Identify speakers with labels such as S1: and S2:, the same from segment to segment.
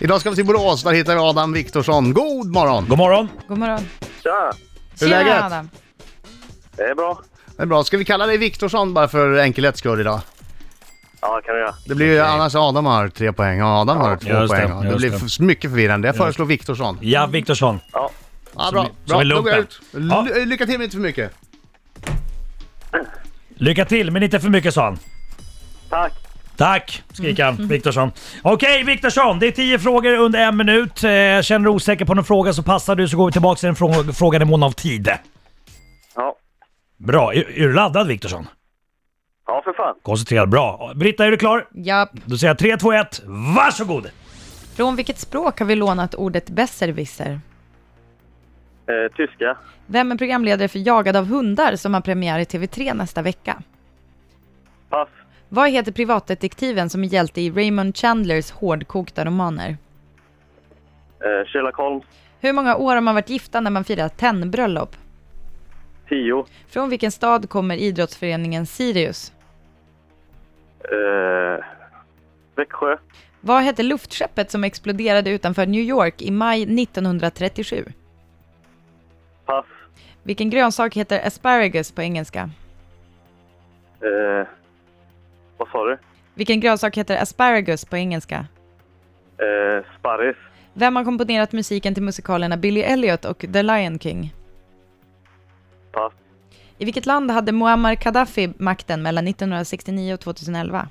S1: Idag ska vi till Borås, där hittar vi Adam Viktorsson. God morgon!
S2: God morgon!
S3: God morgon.
S4: Tja!
S1: Hur är
S3: Tjena,
S1: läget?
S3: Adam.
S4: Det är bra.
S1: Det är bra. Ska vi kalla dig Viktorsson bara för enkelhets skull idag?
S4: Ja, det kan du göra.
S1: Det blir ju annars Adam har tre poäng och Adam har två
S2: just det,
S1: poäng. Det,
S2: just
S1: blir
S2: det.
S1: f- mycket förvirrande. Jag föreslår Viktorsson.
S2: Ja, Viktorsson.
S4: Ja,
S1: Ja, bra.
S2: vi- så
S1: bra.
S2: vi
S1: Då går jag ut.
S2: lunkar.
S1: Ly- Lycka till men inte för mycket.
S2: Lycka till, men inte för mycket sa han.
S4: tack.
S2: Tack, skriker han, Viktorsson. Okej Viktorsson, det är 10 frågor under en minut. Eh, Känner du osäker på någon fråga så passar du så går vi tillbaka till den frå- frågan i mån av tid.
S4: Ja,
S2: Bra, är, är du laddad Viktorsson?
S4: ja för fan.
S2: Koncentrerad, bra. Britta, är du klar?
S3: Ja.
S2: Då säger jag 3, 2, 1, varsågod!
S3: Från vilket språk har vi lånat ordet besserwisser?
S4: Eh, tyska.
S3: Vem är programledare för Jagad av hundar som har premiär i TV3 nästa vecka?
S4: Pass.
S3: Vad heter privatdetektiven som är hjälte i Raymond Chandlers hårdkokta romaner?
S4: Eh, Sherlock Holmes.
S3: Hur många år har man varit gifta när man firar tennbröllop?
S4: 10.
S3: Från vilken stad kommer idrottsföreningen Sirius?
S4: Eh, Växjö.
S3: Vad hette luftskeppet som exploderade utanför New York i maj 1937?
S4: Pass.
S3: Vilken grönsak heter asparagus på engelska?
S4: Eh, vad sa du?
S3: Vilken grönsak heter asparagus på engelska?
S4: Eh, sparris.
S3: Vem har komponerat musiken till musikalerna Billy Elliot och The Lion King?
S4: Pass.
S3: I vilket land hade Muammar Gaddafi makten mellan 1969 och 2011?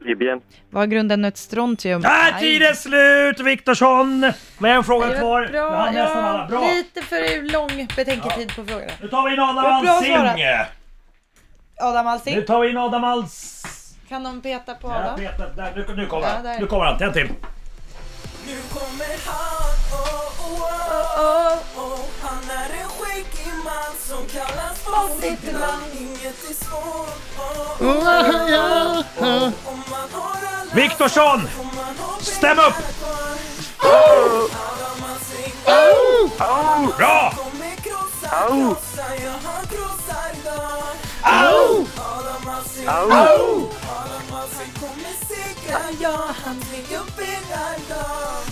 S4: Libyen.
S3: Var grunden ett strontium?
S2: Där är
S3: Aj.
S2: tiden slut Viktorsson! Med en fråga kvar.
S3: Bra,
S2: Jag hann nästan alla. Bra.
S3: Lite för lång betänketid på frågan.
S2: Nu tar vi in Adam
S3: Det är bra
S2: Alsing!
S3: Adam
S2: Nu
S3: Alsing,
S2: tar vi in Adam Alsing!
S3: kan de peta på
S2: Jag
S3: Adam?
S2: vet inte. Där, nu, nu kommer
S3: Ja,
S2: han.
S3: där.
S2: Nu kommer han. Tänd till.
S5: Nu kommer han, oh, oh, oh, oh. Han är en skäggig man som kallas på sitt namn Inget är svårt, oh,
S2: Mm.
S5: oh. Om man har alla
S2: Viktorsson!
S5: om man har
S2: Stäm
S5: pengar
S2: upp!
S5: kvar. Alla man ser
S2: Bra!
S5: kommer krossa, krossa, ja han krossar dem Alla man ser alla man ser kommer segra, ja han tvingar upp hela dagen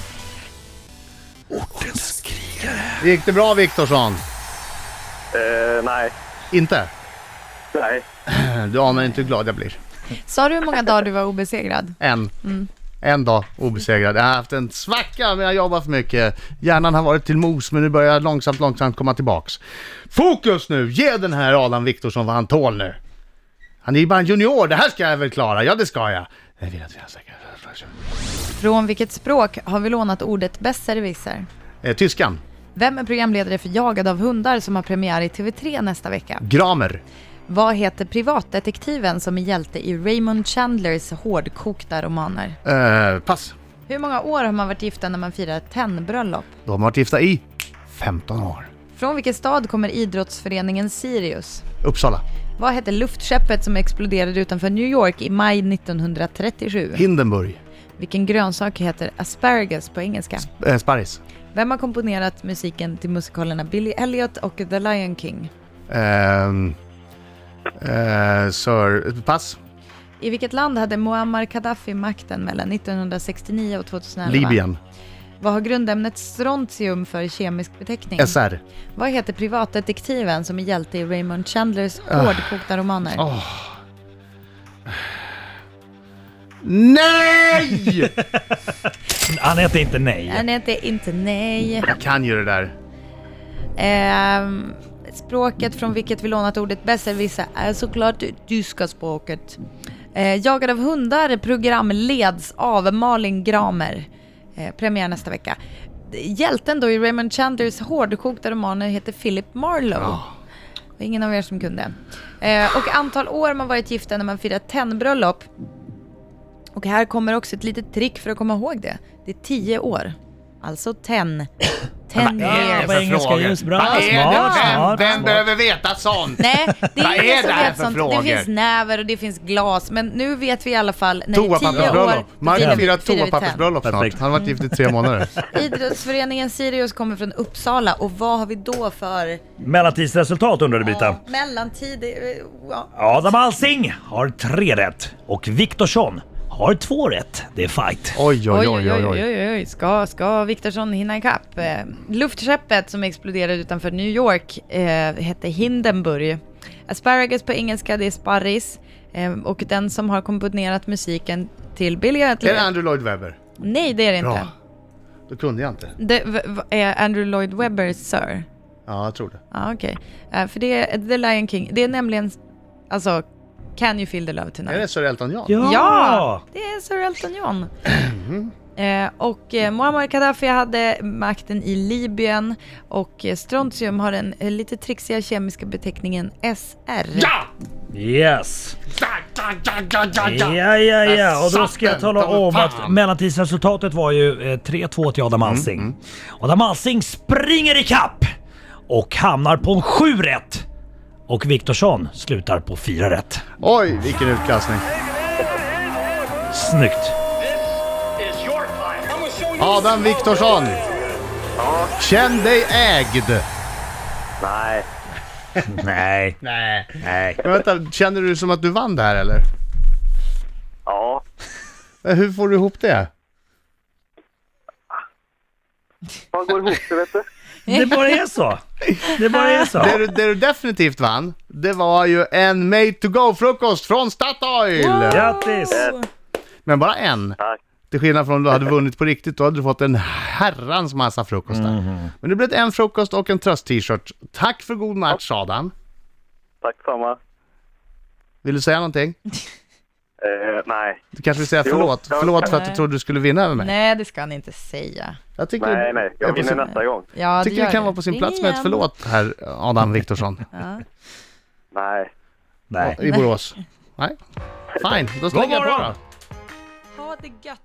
S1: Gick det bra Viktorsson?
S4: Eh, nej.
S1: Inte?
S4: Nej.
S1: Du anar inte hur glad jag blir.
S3: Sa du hur många dagar du var obesegrad?
S1: En. En dag obesegrad. Jag har haft en svacka men jag jobbar för mycket. Hjärnan har varit till mos men nu börjar jag långsamt, långsamt komma tillbaks. Fokus nu! Ge den här Adam Viktorsson vad han tål nu. Han är ju bara en junior, det här ska jag väl klara? Ja, det ska jag. Jag vill att vi har säkert...
S3: Från vilket språk har vi lånat ordet besserwisser?
S1: Eh, tyskan.
S3: Vem är programledare för Jagad av hundar som har premiär i TV3 nästa vecka?
S1: Gramer.
S3: Vad heter privatdetektiven som är hjälte i Raymond Chandlers hårdkokta romaner?
S1: Eh, pass.
S3: Hur många år har man varit gifta när man firar tennbröllop?
S1: De har varit gifta i 15 år.
S3: Från vilken stad kommer idrottsföreningen Sirius?
S1: Uppsala.
S3: Vad hette luftskeppet som exploderade utanför New York i maj 1937?
S1: Hindenburg.
S3: Vilken grönsak heter asparagus på engelska?
S1: Eh, sparris.
S3: Vem har komponerat musiken till musikalerna Billy Elliot och The Lion King?
S1: Ehm... eh, sir... Pass.
S3: I vilket land hade Muammar Gaddafi makten mellan 1969 och 2011?
S1: Libyen.
S3: Vad har grundämnet strontium för kemisk beteckning?
S1: SR.
S3: Vad heter privatdetektiven som är hjälte i Raymond Chandlers hårdkokta romaner?
S1: Nej!
S2: Han heter inte
S3: Nej,
S2: nej.
S3: nej, det är inte nej.
S1: Jag kan ju det där.
S3: Ehm, språket från vilket vi lånat ordet besserwisser är såklart tyska språket. Eh, Jagad av hundar program leds av Malin Gramer. Eh, premiär nästa vecka. Hjälten då i Raymond Chandlers hårdkokta romaner heter Philip Marlowe. Det var ingen av er som kunde. Eh, och antal år man varit gifta när man firar tennbröllop. Och här kommer också ett litet trick för att komma ihåg det. Det är tio år. Alltså ten. Ten
S1: Vad är
S3: years.
S1: det
S2: på
S1: för
S2: engelska,
S1: frågor?
S2: just bra.
S1: Vad är det?
S2: Smart,
S1: Vem,
S2: smart,
S1: vem
S2: smart.
S1: behöver veta sånt?
S3: Nej, det
S1: Vad
S3: är
S1: är
S3: ingen som
S1: det här
S3: vet
S1: för
S3: sånt.
S1: frågor?
S3: Det finns näver och det finns glas, men nu vet vi i alla fall. När det är tio år,
S1: Toapappersbröllop. Mark
S3: firar-
S1: firar
S3: firar vi
S1: toapappersbröllop snart.
S2: Perfekt.
S1: Han har varit gift i tre månader.
S3: tenn. Idrottsföreningen Sirius kommer från Uppsala och vad har vi då för
S2: Mellantidsresultat undrade Brita.
S3: ja, mellantid? eh, Ja.
S2: Adam Alsing har tre rätt och Viktorsson har har två rätt. Det är fight.
S1: Oj, oj, oj, oj, oj.
S3: oj, oj. Ska, ska Viktorsson hinna ikapp? Eh, luftskeppet som exploderade utanför New York eh, hette Hindenburg. Asparagus på engelska, det är sparris. Eh, och den som har komponerat musiken till Billy
S1: Är det
S3: Elliot...
S1: Andrew Lloyd Webber?
S3: Nej, det är det inte.
S1: Bra. Då kunde jag inte.
S3: Det v- v- är Andrew Lloyd Webbers Sir.
S1: Ja, jag tror det.
S3: Ja, okej. Eh, för det är The Lion King. Det är nämligen, alltså, Can You Feel The Love Tonight?
S1: Är det Ah! Sir Elton John?
S3: Ja! Det är Sir Elton John.
S1: Mm-hmm.
S3: Eh, och eh, Muammar Gaddafi hade makten i Libyen och eh, strontium har den eh, lite trixiga kemiska beteckningen SR.
S1: Ja!
S2: Yes!
S1: Ja, ja, ja, ja, ja, ja.
S2: Ja, ja, ja.
S1: Där
S2: Och då
S1: satt
S2: ska jag
S1: den,
S2: tala
S1: ta mig
S2: om
S1: fan.
S2: att mellantidsresultatet var ju eh, 3-2 till Adam Alsing. Och Adam Alsing springer i kapp och hamnar på en 7 rätt. Och Viktorsson slutar på 4 rätt.
S1: Oj, vilken utklassning.
S2: Snyggt!
S1: Adam Viktorsson! Känn dig ägd!
S4: Nej.
S2: Nej,
S1: Nej.
S2: nej.
S1: Men vänta, känner du som att du vann det här eller?
S4: Ja.
S1: Men Hur får du ihop det?
S4: Vad går ihop det, vet du?
S2: Det bara är så. Det bara är så.
S1: Det, du, det du definitivt vann, det var ju en Made to Go-frukost från Statoil!
S2: Grattis!
S1: Men bara en.
S4: Tack.
S1: Till skillnad från om du hade vunnit på riktigt, då hade du fått en herrans massa frukostar. Men det blev en frukost och en tröst-t-shirt. Tack för god match Adam.
S4: Tack samma.
S1: Vill du säga någonting?
S4: Eh, nej.
S1: Du kanske vill säga
S4: Jo,
S1: förlåt?
S4: jag-
S1: Förlåt för att du
S3: Nej.
S1: trodde du skulle vinna över mig?
S3: Nej, det ska han inte säga.
S1: Jag tycker,
S4: Nej, nej. Jag
S1: är på
S4: vinner
S1: sin-
S4: nästa gång.
S3: Ja,
S1: Jag tycker
S3: gör
S1: det kan vara på sin
S3: Ring
S1: plats med ett
S3: igen.
S1: förlåt här, Adam Viktorsson.
S3: Ja.
S4: Nej.
S2: Nej.
S1: I Borås. Nej. Fine, då slänger jag på då.
S3: Ha det gött!